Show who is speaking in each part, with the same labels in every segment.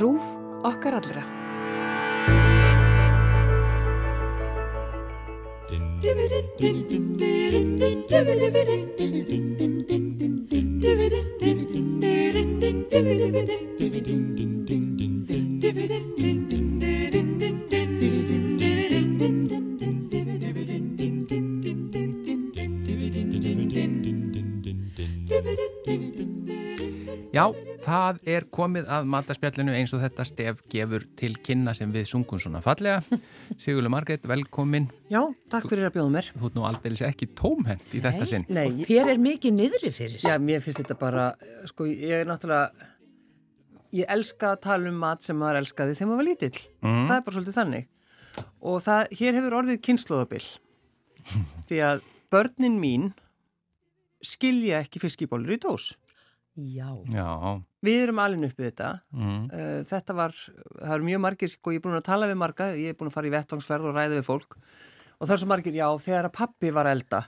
Speaker 1: Rúf okkar allra.
Speaker 2: Já, það er komið að mataspjallinu eins og þetta stef gefur til kynna sem við sungum svona fallega. Sigurlu Margreit, velkomin.
Speaker 3: Já, takk fyrir að bjóða mér.
Speaker 2: Þú ert nú aldrei ekki tómhend í þetta sinn.
Speaker 3: Nei,
Speaker 4: Og þér er mikið niðri fyrir.
Speaker 3: já, mér finnst þetta bara, sko, ég er náttúrulega, ég elska að tala um mat sem maður elskaði þegar maður var lítill. Það er bara svolítið þannig. Og það, hér hefur orðið kynnslóðabill. Því að börnin mín skilja ekki fiskibólur í dós.
Speaker 4: Já.
Speaker 2: Já,
Speaker 3: Við erum alin uppið þetta. Mm. Þetta var, það eru mjög margir, sko, ég er búin að tala við marga, ég er búin að fara í vettvangsverð og ræða við fólk. Og það er svo margir, já, þegar að pappi var að elda,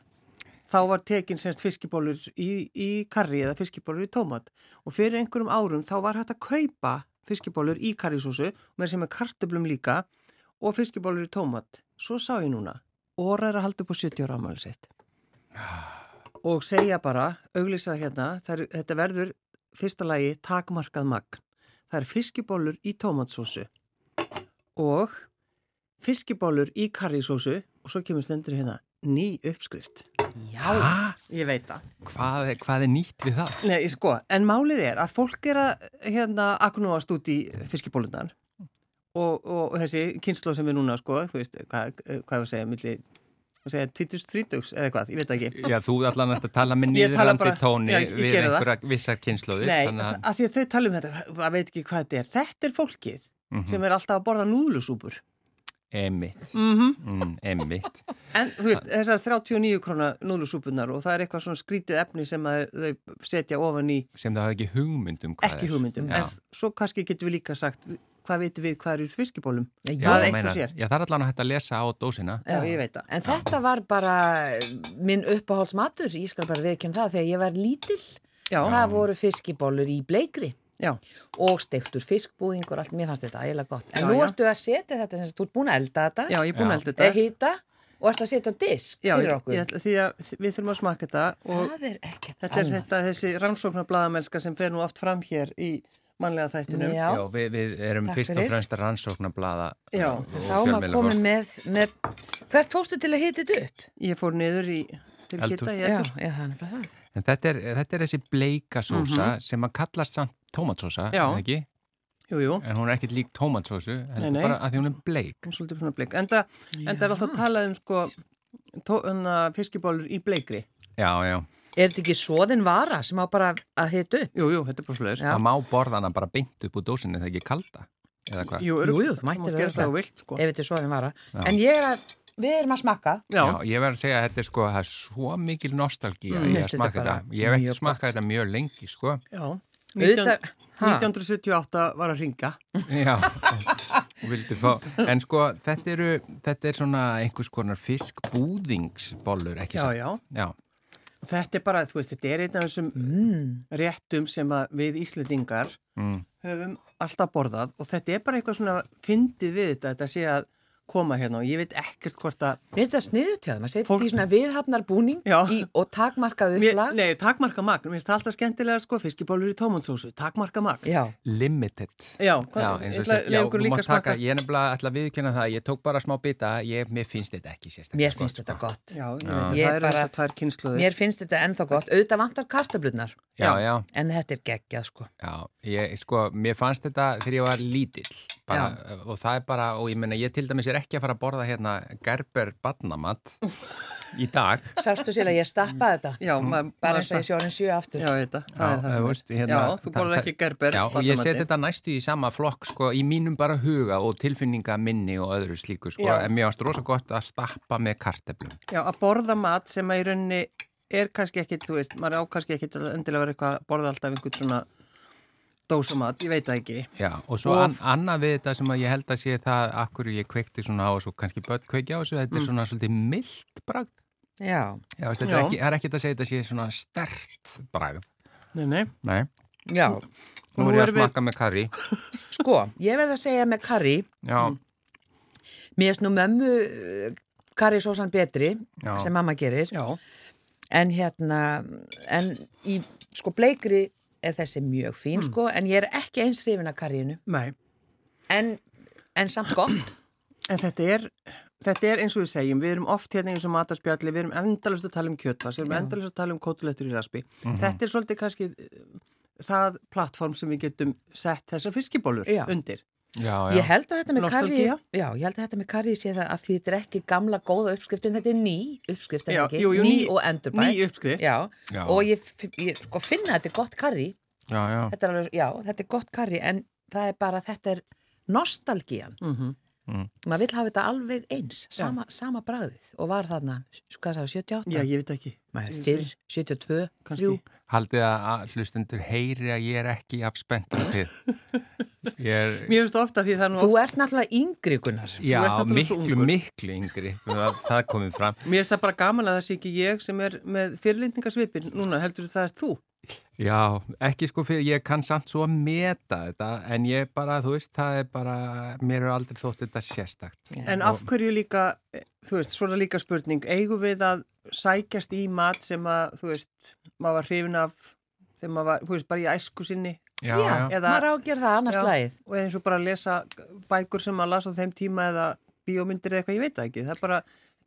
Speaker 3: þá var tekin semst fiskibólur í, í karri eða fiskibólur í tómat. Og fyrir einhverjum árum þá var hægt að kaupa fiskibólur í karrisósu, með sem er kartöblum líka, og fiskibólur í tómat. Svo sá ég núna, óra er að halda upp á 70 ára ámæli sitt. Og segja bara, auglýsa hérna, það er, þetta verður fyrsta lagi takmarkað magn. Það er fiskibólur í tómatsósu og fiskibólur í karrisósu og svo kemur stendur hérna ný uppskrift.
Speaker 4: Já.
Speaker 3: Ég veit það.
Speaker 2: hvað, er- hvað er nýtt við það?
Speaker 3: Nei, sko, en málið er að fólk er að hérna agnúast út í fiskibólundan og, og, og þessi kynslo sem er núna, sko, þú veist, hvað, hvað ég að segja, milli, hvað segja, 20-30 eða hvað, ég veit það ekki.
Speaker 2: Já, þú allan ert að tala með
Speaker 3: Ég tala
Speaker 2: nýðrandi
Speaker 3: bara-
Speaker 2: tóni
Speaker 3: Já, ég- ég
Speaker 2: við
Speaker 3: geri það.
Speaker 2: einhverja vissar kynnslóðir.
Speaker 3: Nei,
Speaker 2: þannig að-
Speaker 3: af því að þau tala um þetta, maður veit ekki hvað þetta er. Þetta er fólkið
Speaker 2: Mhm.
Speaker 3: sem er alltaf að borða núðlusúpur.
Speaker 2: Emmitt,
Speaker 3: Mm
Speaker 2: mm, emmitt.
Speaker 3: En þú veist, þessar 39 króna núðlusúpunar og það er eitthvað svona skrítið efni sem að þau setja ofan í
Speaker 2: Sem það hafa ekki hugmynd um hvað
Speaker 3: ekki hugmyndum.
Speaker 2: Já.
Speaker 3: En svo kannski getum við líka sagt, hvað veitum við hvað eru í fiskibólum?
Speaker 4: Já,
Speaker 2: Já,
Speaker 3: það
Speaker 2: ég
Speaker 3: er eitt
Speaker 2: meina,
Speaker 3: og sér.
Speaker 2: Já, það er allan að hægt að lesa á dósina.
Speaker 3: Já, ég veit það.
Speaker 4: En þetta var bara eh, minn uppáhaldsmatur, ég skal bara viðkjönda það, þegar ég var lítill,
Speaker 3: Já.
Speaker 4: það voru fiskibólur í bleikri
Speaker 3: Já,
Speaker 4: og steiktur fiskbúingur, allt, mér fannst þetta ægilega gott. En
Speaker 3: Já,
Speaker 4: nú
Speaker 3: já.
Speaker 4: ertu að setja þetta, sem sagt, þú ert búin að elda þetta,
Speaker 3: já, ég er búin
Speaker 2: Já.
Speaker 3: að elda þetta.
Speaker 4: hýta og ert að setja á disk
Speaker 3: Já,
Speaker 4: fyrir
Speaker 3: ég,
Speaker 4: okkur.
Speaker 3: ég, ætla- því að við þurfum að smaka þetta og
Speaker 4: það er ekkert
Speaker 3: þetta er
Speaker 4: annað.
Speaker 3: þetta, þessi rannsóknarbladamennska sem fer nú oft fram hér í mannlega þættinum.
Speaker 4: Já,
Speaker 2: Já, við, við erum
Speaker 4: Takk
Speaker 2: fyrst og
Speaker 4: fyrir.
Speaker 2: fremst að rannsóknablaða
Speaker 3: Já,
Speaker 2: og
Speaker 4: þá er maður
Speaker 2: fjölmiðlafólk.
Speaker 4: komið með, með, hvert fórstu til að hýta þetta upp?
Speaker 3: Ég fór niður í til
Speaker 2: Eldhús.
Speaker 3: geta í
Speaker 4: Já,
Speaker 3: eldur.
Speaker 4: já, það er bara það.
Speaker 2: En þetta er, þetta er þessi bleika sósa sem að kallast samt tómatsósa,
Speaker 3: Mhm. Já.
Speaker 2: eða ekki?
Speaker 3: Jú, jú.
Speaker 2: En hún er ekkert lík tómatsósu,
Speaker 3: Nei,
Speaker 2: heldur
Speaker 3: nei.
Speaker 2: bara að því hún er bleik.
Speaker 3: Hún er svolítið svona bleik. Enda, enda er alltaf talað um sko tó, hana, fiskibólur í bleikri.
Speaker 2: Já, já.
Speaker 4: Er þetta ekki svoðin vara sem á bara að hýta upp?
Speaker 3: Jú, jú, þetta er bara svolítið.
Speaker 4: Já.
Speaker 2: Það má borðana bara beint upp úr dósinni þegar ekki kalda, eða hvað?
Speaker 3: Jú,
Speaker 4: Jú, jú, þú mættir
Speaker 3: að gera
Speaker 4: örugglega.
Speaker 3: það og vilt, sko.
Speaker 4: Ef þetta er svoðin vara. En ég er að, við erum að smakka.
Speaker 3: Já,
Speaker 2: ég verður að segja að þetta er sko, það er svo mikil nostalgía
Speaker 4: Mm.
Speaker 2: í að
Speaker 4: Þetta er
Speaker 2: smaka
Speaker 4: bara
Speaker 2: þetta. Ég hef
Speaker 4: mjög
Speaker 2: ekki smakað þetta mjög lengi, sko.
Speaker 3: já.
Speaker 4: Auðvitað-
Speaker 3: 19,
Speaker 4: Ha?
Speaker 3: 1978 var að ringa.
Speaker 2: Já, og vildi fá. En sko, þetta, eru, þetta er svona einhvers konar fiskbúðingsbollur, ekki
Speaker 3: Já,
Speaker 2: satt?
Speaker 3: já.
Speaker 2: Já,
Speaker 3: Þetta er bara, þú veist, þetta er einn af þessum réttum sem að við Íslendingar höfum alltaf borðað og þetta er bara eitthvað svona fyndið við þetta, þetta sé að koma hérna og ég veit ekkert hvort að
Speaker 4: Mér finnst það sniðut hjá það, maður setja
Speaker 3: Fólk-
Speaker 4: í svona viðhafnar búning
Speaker 3: Já.
Speaker 4: í, og takmarkað
Speaker 3: Mér,
Speaker 4: upplag.
Speaker 3: nei, takmarka magn, mér finnst það alltaf skemmtilega sko, fiskibólur í tómansósu, takmarka magn
Speaker 4: Já,
Speaker 2: limited.
Speaker 3: Já, hvað- ég ætla að
Speaker 2: sagt,
Speaker 3: leyfa ykkur
Speaker 2: þú
Speaker 3: líka
Speaker 2: mátt
Speaker 3: að smaka.
Speaker 2: taka- Ég er nefnilega ætla að viðkynna það, ég tók bara smá bita, ég, mér finnst þetta ekki sko. sérstaklega.
Speaker 4: mér finnst þetta gott.
Speaker 3: Já, ég veit,
Speaker 4: Ég
Speaker 3: það eru
Speaker 4: bara-
Speaker 3: þessar tvær kynsluður
Speaker 4: Mér finnst þetta ennþá gott. Auðvitað vantar kartablutnar.
Speaker 2: Já, já,
Speaker 4: En þetta er geggjað, sko.
Speaker 2: já, ég, sko, mér fannst þetta þegar ég var lítill. Bara, og það er bara, og ég meina, ég til dæmis er ekki að fara að borða hérna gerber badnamatt í dag.
Speaker 4: Sástu sér að ég stappa þetta?
Speaker 3: Já, maður
Speaker 4: Bara
Speaker 3: maður-
Speaker 4: eins og ég sé orðin sjö aftur.
Speaker 3: Já, ég veit það, það er það sem
Speaker 2: þú
Speaker 3: er.
Speaker 2: veist, hérna,
Speaker 3: Já, þú borðar
Speaker 2: það-
Speaker 3: ekki gerber
Speaker 2: Já, og ég seti þetta næstu í sama flokk sko, í mínum bara huga og tilfinninga minni og öðru slíku sko,
Speaker 3: Já.
Speaker 2: en mér varst rosa gott að stappa með karteflum
Speaker 3: Já, að borða mat sem að í rauninni er kannski ekkit, þú veist, maður á kannski ekkit að endilega vera eitthvað að borða alltaf einhvern svona dósamat, ég veit það ekki.
Speaker 2: Já, og svo
Speaker 3: Og-
Speaker 2: an, annað við þetta sem að ég held að sé það akkur ég kveikti svona á og svo kannski börn kveikja á þessu, þetta er svona svolítið mildt bragð
Speaker 4: Já,
Speaker 2: Mm. Já, veist, þetta er
Speaker 3: Já.
Speaker 2: ekki, það er ekkert að segja þetta sé svona stert bragð
Speaker 3: Nei, nei.
Speaker 2: Nei,
Speaker 4: já.
Speaker 2: Nú er ég að smakka með karri.
Speaker 4: Sko, ég verð að segja með karri,
Speaker 2: Já,
Speaker 4: mér erst nú mömmu karrisósan betri
Speaker 2: Já.
Speaker 4: sem mamma gerir
Speaker 3: Já,
Speaker 4: en hérna, en í sko bleikri er þessi mjög
Speaker 3: Hmm.
Speaker 4: fín sko, en ég er ekki eins hrifin að karrinu,
Speaker 3: nei.
Speaker 4: en, en samt gott
Speaker 3: En þetta er, þetta er eins og við segjum, við erum oft hérna eins og matarspjalli, við erum endalust að tala um kjötvas, við erum endalust að tala um kótulettur í raspi.
Speaker 2: Mhm.
Speaker 3: Þetta er svolítið kannski eh, það plattform sem við getum sett þessar fiskibólur
Speaker 4: Já.
Speaker 3: undir.
Speaker 2: já, já.
Speaker 4: ég held að þetta með karri
Speaker 3: Nostalgía?
Speaker 4: já, ég held að þetta með karri sé það að því þetta er ekki gamla góða uppskrift en þetta er ný uppskrift, er
Speaker 3: Já,
Speaker 4: það ekki,
Speaker 3: jú, jú,
Speaker 4: ný,
Speaker 3: ný-
Speaker 4: og endurbætt
Speaker 3: ný uppskrift.
Speaker 4: já.
Speaker 2: Já.
Speaker 4: og ég, f- ég sko finna að þetta er gott karri
Speaker 2: Já, já.
Speaker 4: þetta er alveg, já, þetta er gott karri en það er bara, þetta er nostalgían mm
Speaker 3: Mhm.
Speaker 4: maður vil hafa þetta alveg eins sama, sama bragðið og var þarna, s- hvað sagði, 78
Speaker 3: Já, ég veit ekki.
Speaker 4: maður fyrr, 72,
Speaker 3: Kannski.
Speaker 4: 3
Speaker 2: Haldið að- að hlustundur heyri að ég er ekki afspennt af þið. Ég er...
Speaker 3: Mér finnst ofta því það er nú
Speaker 4: þú
Speaker 3: oft,
Speaker 4: ert náttúrulega yngri gunnar
Speaker 2: Já,
Speaker 3: ert náttúrulega svo
Speaker 2: miklu,
Speaker 3: ungur.
Speaker 2: miklu yngri. Það, það komið fram.
Speaker 3: mér finnst það bara gaman að það sé ekki ég sem er með fyrirlendingasvipin núna, heldur það er þú.
Speaker 2: Já, ekki sko fyrir, ég kann samt svo að meta þetta, en ég bara, þú veist, það er bara, mér er aldrei þótt þetta sérstakt.
Speaker 3: En af hverju líka, eh, þú veist, svona líka spurning, eigum við að sækjast í mat sem að, þú veist, maður var hrifin af, þegar maður var, þú veist, bara í æsku sinni
Speaker 2: Já,
Speaker 4: já,
Speaker 2: já,
Speaker 3: Eða-
Speaker 4: maður ágjör það annars
Speaker 3: Já,
Speaker 4: lagið
Speaker 3: og eins og bara að lesa bækur sem maður las á þeim tíma eða bíómyndir eða eitthvað, ég veit það ekki það er bara,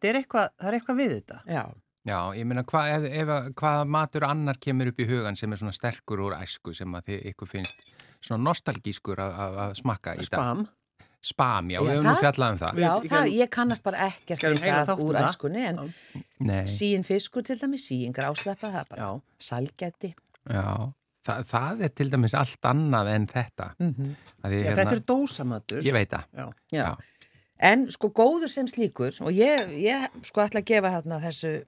Speaker 3: það er eitthvað, það er eitthvað við þetta
Speaker 4: já,
Speaker 2: já, ég meina, hva, ef, ef, hvaða matur annar kemur upp í hugan sem er svona sterkur úr æsku sem að þið ykkur finnst svona nostalgískur að, að, að smakka í dag?
Speaker 3: spam,
Speaker 2: Spam,
Speaker 4: Já,
Speaker 2: já, við höfum nú
Speaker 4: það-
Speaker 2: fjallað um það.
Speaker 4: já
Speaker 3: Við-
Speaker 4: það,
Speaker 3: gerðum-
Speaker 4: ég kannast bara ekkert
Speaker 3: gerðum
Speaker 4: við
Speaker 3: heila
Speaker 4: það
Speaker 3: þátt um
Speaker 4: úr
Speaker 3: það.
Speaker 4: æskunni en
Speaker 2: Nei,
Speaker 4: síin fiskur til dæmi, síin grásleppa það er bara,
Speaker 3: Já.
Speaker 4: salgæti
Speaker 2: já, það, það er til dæmis allt annað en þetta. Mm -hmm. því,
Speaker 3: já,
Speaker 4: hérna-
Speaker 3: þetta er dósamatur
Speaker 2: Ég veit það.
Speaker 3: já,
Speaker 4: já. En sko góður sem slíkur og ég, ég sko ætla að gefa þarna þessu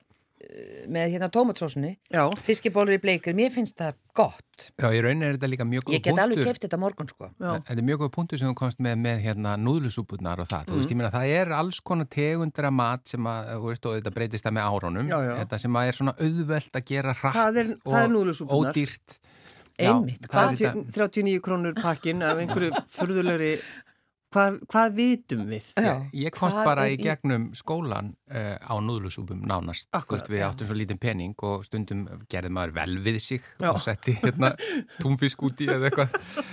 Speaker 4: eh, með hérna tómatsósunni
Speaker 3: já,
Speaker 4: fiskibólur í bleikir, mér finnst það gott
Speaker 2: Já, í rauninni er þetta líka mjög góð
Speaker 4: ég get alveg
Speaker 2: punktur.
Speaker 4: keft þetta morgun sko
Speaker 3: Já.
Speaker 2: Þetta er mjög góð punktu sem þú komst með með hérna núðlusúpurnar og það, þú veist, ég meina það er alls konar tegundra mat sem að, þú veist, og þetta breytist það með árunum,
Speaker 3: Já, já.
Speaker 2: þetta sem að er svona auðvelt að gera hratt
Speaker 3: Það er- það er
Speaker 2: og
Speaker 3: núðlusúpurnar.
Speaker 2: ódýrt.
Speaker 4: Einmitt,
Speaker 2: Já, það er
Speaker 3: 30
Speaker 2: þetta-
Speaker 3: 39 krónur pakkin af einhverju furðulegri hvað, hvað vitum við
Speaker 2: Ég, ég komst
Speaker 4: Hvað
Speaker 2: bara
Speaker 4: er
Speaker 2: í gegnum skólan uh, á núðlusúpum nánast, þú
Speaker 3: Akkurat,
Speaker 2: veist, við áttum svo lítinn pening og stundum gerði maður vel við sig
Speaker 3: Já.
Speaker 2: og setti hérna túnfisk út í eða eitthvað,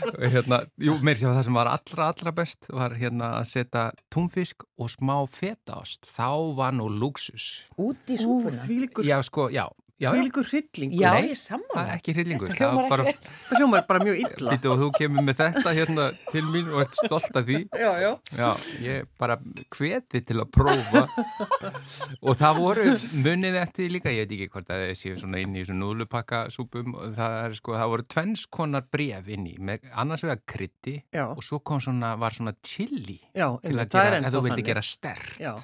Speaker 2: Og hérna, jú, meir sem það sem var allra, allra best var hérna að setja túnfisk og smá fetaost, þá var nú luxus.
Speaker 4: út í
Speaker 3: Ú,
Speaker 4: súpuna
Speaker 3: þvílíkur,
Speaker 2: Já, sko, já. já, já.
Speaker 3: þvílíkur hryllingur
Speaker 4: Já,
Speaker 2: Nei,
Speaker 4: ég er
Speaker 2: Það er
Speaker 4: sammála
Speaker 2: ekki hryllingur.
Speaker 4: Þetta hljómar
Speaker 2: bara,
Speaker 4: ekki
Speaker 3: það hljómar bara mjög illa
Speaker 2: Lítið og þú kemur með þetta hérna til mín og ert stolt af því.
Speaker 3: já, já,
Speaker 2: Já, ég bara hveti til að prófa og það voru munið eftir því líka, ég veit ekki hvort að það séu svona inn í þessum núðlupakkasúpum og það er sko, það voru tvennskonar bref inn í, með annars vegar krytti
Speaker 3: Já.
Speaker 2: og svo kom svona, var svona chili
Speaker 3: Já,
Speaker 2: til
Speaker 3: einmitt,
Speaker 2: að
Speaker 3: það er
Speaker 2: gera,
Speaker 3: ennþá
Speaker 2: ef þú vildi
Speaker 3: þannig.
Speaker 2: gera sterkt.
Speaker 3: já.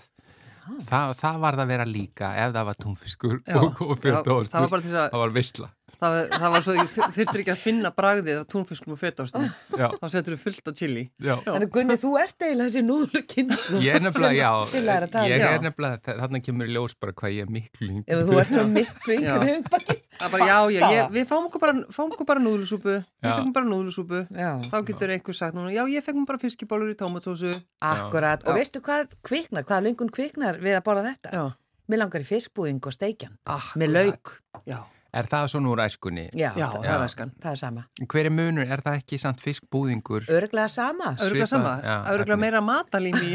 Speaker 2: Það, það var það að vera líka ef það var túnfiskur
Speaker 3: Já.
Speaker 2: og, og fjöldóstur.
Speaker 3: Það var bara til að-
Speaker 2: Það var veisla.
Speaker 3: Það, var- það var svo því þurftir ekki að finna bragðið af túnfiskum og fetástum
Speaker 2: Já.
Speaker 3: þá setur við fullt á chili
Speaker 2: Já.
Speaker 4: Þannig Gunni, þú ert eiginlega þessi núðlu kynstu
Speaker 2: Ég er nefnilega, já,
Speaker 4: sem læra að tala.
Speaker 2: ég
Speaker 4: Já.
Speaker 2: er nefnilega, þa- þarna kemur í ljós bara hvað ég er miklu yngri.
Speaker 4: Ef þú ert svo miklu
Speaker 3: Já.
Speaker 4: yngur hefur bara
Speaker 3: Það er bara, já, já, ég, við fáum okkur bara, fáum okkur bara núðlusúpu, við
Speaker 2: Já.
Speaker 3: fengum bara núðlusúpu,
Speaker 4: Já.
Speaker 3: þá getur einhver sagt núna, já, ég fengum bara fiskibólur í tómatsósu,
Speaker 4: Akkurat, og veistu hvað kviknar, hvað lungun kviknar við að borða þetta?
Speaker 3: Já.
Speaker 4: Mér langar í fiskbúðing og steikjan Með lauk,
Speaker 3: já,
Speaker 2: Er það svona úr æskunni?
Speaker 4: já,
Speaker 3: já,
Speaker 4: það,
Speaker 3: það er æskan.
Speaker 4: það er sama
Speaker 2: Hver er munur? Er það ekki samt fiskbúðingur?
Speaker 4: Örglega sama,
Speaker 2: Svipað,
Speaker 3: Öruglega sama,
Speaker 2: já,
Speaker 3: öruglega
Speaker 2: efni.
Speaker 3: meira matalím í,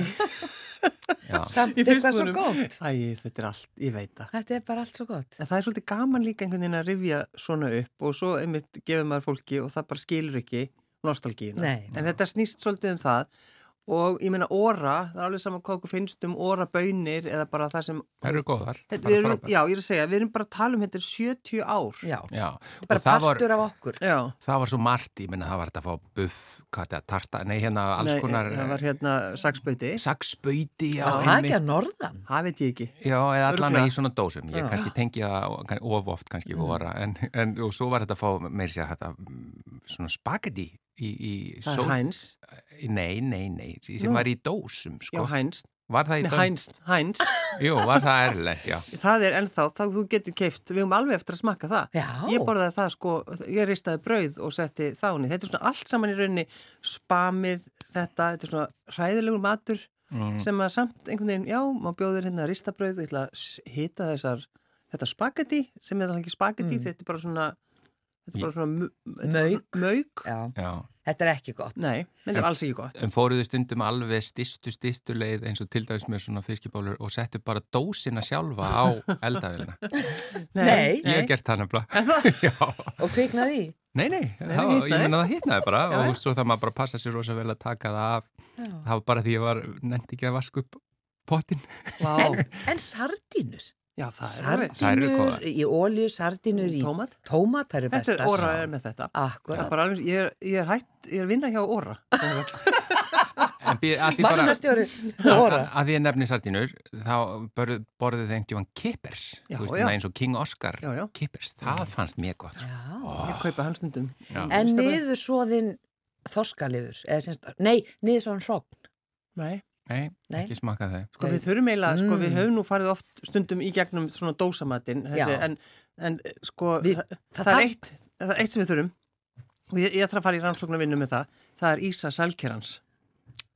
Speaker 2: Já.
Speaker 4: samt
Speaker 3: í
Speaker 4: eitthvað svo
Speaker 3: fiskbúðunum.
Speaker 4: gott
Speaker 3: Æ, þetta er allt, ég veit það.
Speaker 4: Þetta er bara allt svo gott
Speaker 3: En það er svolítið gaman líka einhvern veginn að rifja svona upp og svo einmitt gefur maður fólki og það bara skilur ekki nostalgíuna.
Speaker 4: Nei.
Speaker 3: En þetta snýst svolítið um það og ég meina óra, það er alveg sama hvað okkur finnst um óra bönir eða bara það sem...
Speaker 2: Það eru góðar.
Speaker 3: Þetta-
Speaker 2: bara
Speaker 3: Við erum,
Speaker 2: frábær.
Speaker 3: já, ég er að segja, við erum bara að tala um þetta er 70 ár.
Speaker 4: Já,
Speaker 2: Já.
Speaker 4: bara
Speaker 2: Og það var,
Speaker 4: partur af okkur
Speaker 3: Já,
Speaker 2: það var svo margt, ég menna það var þetta að fá buff, hvað þetta, tarta, nei hérna alls
Speaker 3: Nei,
Speaker 2: konar eh,
Speaker 3: það var hérna saksböti,
Speaker 2: saksböyti. Já,
Speaker 4: Var það ekki að norðan?
Speaker 3: það veit ég ekki.
Speaker 2: Já, eða allan
Speaker 3: Örugglega. Ah.
Speaker 2: í svona dósum. Ég kannski tengi það og- kann- of oft kannski mm. voru, en, en og svo var þetta að fá meir sér þetta mm, svona spagetti í, í
Speaker 3: Það
Speaker 2: só-
Speaker 3: er hæns,
Speaker 2: Nei, nei, nei, sem var í dósum,
Speaker 3: já
Speaker 2: sko.
Speaker 3: hæns,
Speaker 2: Var það í
Speaker 3: Nei,
Speaker 2: dag?
Speaker 3: Heinz, Heinz,
Speaker 2: Jú, var það erlend, já.
Speaker 3: það er ennþá, þá þú getur keift, við höfum alveg eftir að smakka það.
Speaker 4: Já.
Speaker 3: Ég borðaði það sko, ég ristaði brauð og setti þáni. Þetta er svona allt saman í rauninni spamið þetta, þetta er svona hræðilegur matur sem að samt einhvern veginn, já, maður bjóður hérna að rista brauð og ég ætla að s- hita þessar, þetta spagetti sem er alltaf ekki
Speaker 4: Mm.
Speaker 3: spagetti, þetta er bara svona, þetta er bara svona mu- þetta er bara svona Mauk.
Speaker 4: Já,
Speaker 2: já.
Speaker 4: þetta er ekki gott.
Speaker 3: Nei, þetta er alls ekki gott.
Speaker 2: En fóruðu stundum alveg stistu, stistu leið eins og til dæmis með svona fiskibólur og settu bara dósina sjálfa á eldavélina.
Speaker 4: Nei.
Speaker 2: Ég hef gert það nefnilega. já.
Speaker 4: Og kviknaði í.
Speaker 2: Nei, nei, það,
Speaker 3: það
Speaker 2: var- ég
Speaker 3: hitnaði.
Speaker 2: menna það hittnaði bara
Speaker 3: Já, já.
Speaker 2: og svo það maður bara passa sér rosa vel að taka það af.
Speaker 4: Já.
Speaker 2: Það var bara því ég var, nefndi ekki að vaska upp pottin.
Speaker 3: Vá.
Speaker 4: En, en sardínur.
Speaker 3: já, það er
Speaker 2: Þær eru
Speaker 4: Sardínur
Speaker 2: góðar.
Speaker 4: í ólíu, sardínur í
Speaker 3: tómat.
Speaker 4: tómat, það eru
Speaker 3: Þetta
Speaker 4: bestar.
Speaker 3: er óra er með þetta. Það er
Speaker 4: Akkurat.
Speaker 3: bara alveg, ég er, ég er hætt, ég er að vinna hjá óra.
Speaker 2: En býð- að því bara,
Speaker 4: Vatnastjóri
Speaker 2: að
Speaker 4: óra.
Speaker 2: að því ég nefni sardínur, þá borðu- borðuðu þeim tjóðan kippers.
Speaker 3: Já,
Speaker 2: Þú veist
Speaker 3: já.
Speaker 2: það eins og King Oscar
Speaker 3: Já, já.
Speaker 2: kippers. Það fannst mér gott. sko.
Speaker 4: Já.
Speaker 3: Ég kaupa hann stundum.
Speaker 4: En niður svoðin þorskalifur, eða semst, nei, niður svoðin hrókn.
Speaker 3: Nei.
Speaker 2: Nei,
Speaker 4: Nei.
Speaker 2: ekki smakað þau.
Speaker 3: Sko við þurfum eiginlega, sko við
Speaker 4: Mm.
Speaker 3: höfum nú farið oft stundum í gegnum svona dósamatinn, þessi,
Speaker 4: Já.
Speaker 3: en, en sko
Speaker 4: Við-
Speaker 3: það,
Speaker 4: það
Speaker 3: það, er
Speaker 4: þarf-
Speaker 3: eitt, það er eitt sem við þurfum og ég, ég þarf að fara í rannsóknarvinnu með það, það er Ísa Salkerans.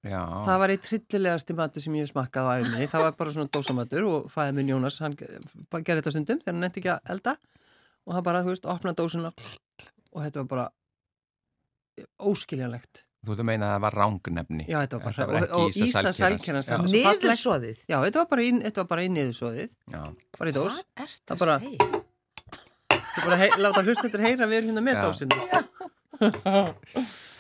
Speaker 2: Já.
Speaker 3: Það var eitt hryllilegasti matur sem ég hef smakkað á æfinni, það var bara svona dósamatur og fæði minn Jónas, hann ge- bara gerði þetta stundum þegar hann nefndi ekki að elda og hann bara, þú veist, opnaði dósuna og þetta var bara óskiljanlegt.
Speaker 2: Þú ert að meina að það var rángnefni.
Speaker 3: Já, þetta var bara,
Speaker 2: var
Speaker 3: og, og
Speaker 2: ekki Ísa
Speaker 3: Ísa
Speaker 2: Salkerans.
Speaker 3: Salkerans, þetta er svo
Speaker 4: Niður
Speaker 3: fallegt.
Speaker 4: svoðið.
Speaker 3: Já, þetta var bara í, þetta var bara í niðursóðið,
Speaker 2: Já,
Speaker 3: bara í dós.
Speaker 4: Hvað er
Speaker 3: Það
Speaker 4: það
Speaker 3: bara-
Speaker 4: að segja?
Speaker 3: Þú bara hei, láta hlustendur heyra við erum hérna með
Speaker 2: Já.
Speaker 3: dásinu.
Speaker 4: Hvað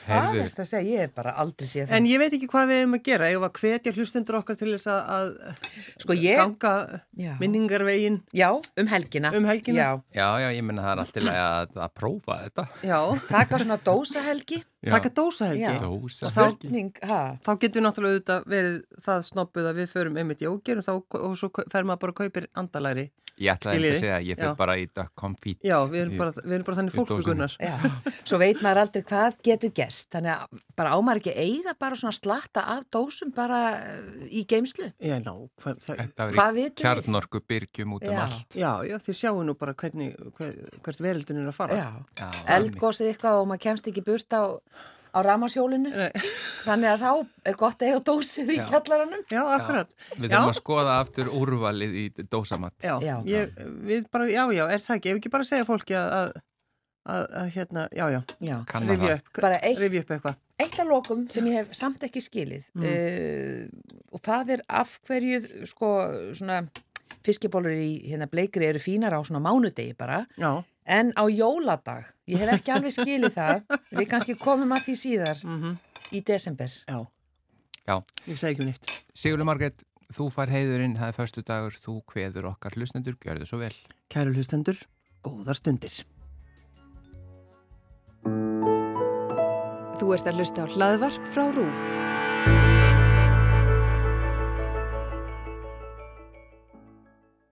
Speaker 2: herðu,
Speaker 4: er það að segja? Ég hef bara aldrei séð
Speaker 3: En
Speaker 4: það.
Speaker 3: ég veit ekki hvað við hefum að gera. Ég var að hvetja hlustendur okkar til þess að- að
Speaker 4: Sko ég,
Speaker 3: ganga
Speaker 4: Já.
Speaker 3: minningarvegin
Speaker 4: já, um helgina.
Speaker 3: um helgina.
Speaker 4: Já,
Speaker 2: já, já, ég minna það er alltaf að, að prófa þetta.
Speaker 3: Já.
Speaker 4: taka svona dósahelgi.
Speaker 2: Já.
Speaker 3: Taka dósahelgi.
Speaker 4: Já.
Speaker 2: Dósa.
Speaker 3: Og þá-
Speaker 4: Spurning, ha?
Speaker 3: Þá getum við náttúrulega auðvitað verið það snobbuð að við förum einmitt í óger og, þá- og svo kau- fer maður bara að kaupir andalæri.
Speaker 2: Ég ætlaði ekki
Speaker 3: Skiljiði?
Speaker 2: að segja að ég fyrir
Speaker 3: Já.
Speaker 2: bara í duck confit.
Speaker 3: Já, við erum bara, við erum bara
Speaker 2: Í
Speaker 3: þannig
Speaker 2: dósinni.
Speaker 3: fólkugunnar.
Speaker 4: Já, svo veit maður aldrei hvað getur gerst. Þannig að bara ámar ekki að eiga bara svona slatta af dósum bara eh, í geimslu.
Speaker 3: Já, ná, hvað, það,
Speaker 2: Það
Speaker 4: Hvað
Speaker 2: var í
Speaker 4: vitum við?
Speaker 2: kjarnorku byrgjum út um
Speaker 4: Já.
Speaker 2: allt.
Speaker 3: já, já, þið sjáu nú bara hvernig, hver, hvert verildin er að fara.
Speaker 4: Já,
Speaker 2: Já,
Speaker 4: eldgósið eitthvað og maður kemst ekki burt á, á ramashjólinu.
Speaker 3: Nei.
Speaker 4: Þannig að þá er gott að eiga dósir í
Speaker 2: Já.
Speaker 4: kjallaranum.
Speaker 3: Já, akkurat.
Speaker 2: Við
Speaker 3: Já.
Speaker 2: þurfum að sko- skoða aftur úrvalið í dósamatt.
Speaker 3: Já,
Speaker 4: Já.
Speaker 3: Ég, við bara, já, já, er það ekki, ef ekki bara segja fólki að, að, að, að hérna, já, já,
Speaker 4: Já.
Speaker 2: Kanna
Speaker 3: rifja
Speaker 2: það.
Speaker 3: upp,
Speaker 4: Bara eitt-
Speaker 3: rifja upp eitthvað.
Speaker 4: Eitt af lokum sem ég hef samt ekki skilið uh, og það er af hverju sko svona fiskibólur í hérna bleikri eru fínar á svona mánudegi bara
Speaker 3: Já,
Speaker 4: en á jóladag, ég hef ekki alveg skilið það, við kannski komum að því síðar í desember.
Speaker 3: já,
Speaker 2: Já.
Speaker 3: ég segi ekki um nýtt.
Speaker 2: Sigurður Margreit, þú fær heiðurinn, það er förstu dagur, þú kveður okkar hlustendur, gjör þið svo vel.
Speaker 3: Kæru hlustendur, góðar stundir.
Speaker 1: Þú ert að hlusta á hlaðvarp frá RÚF.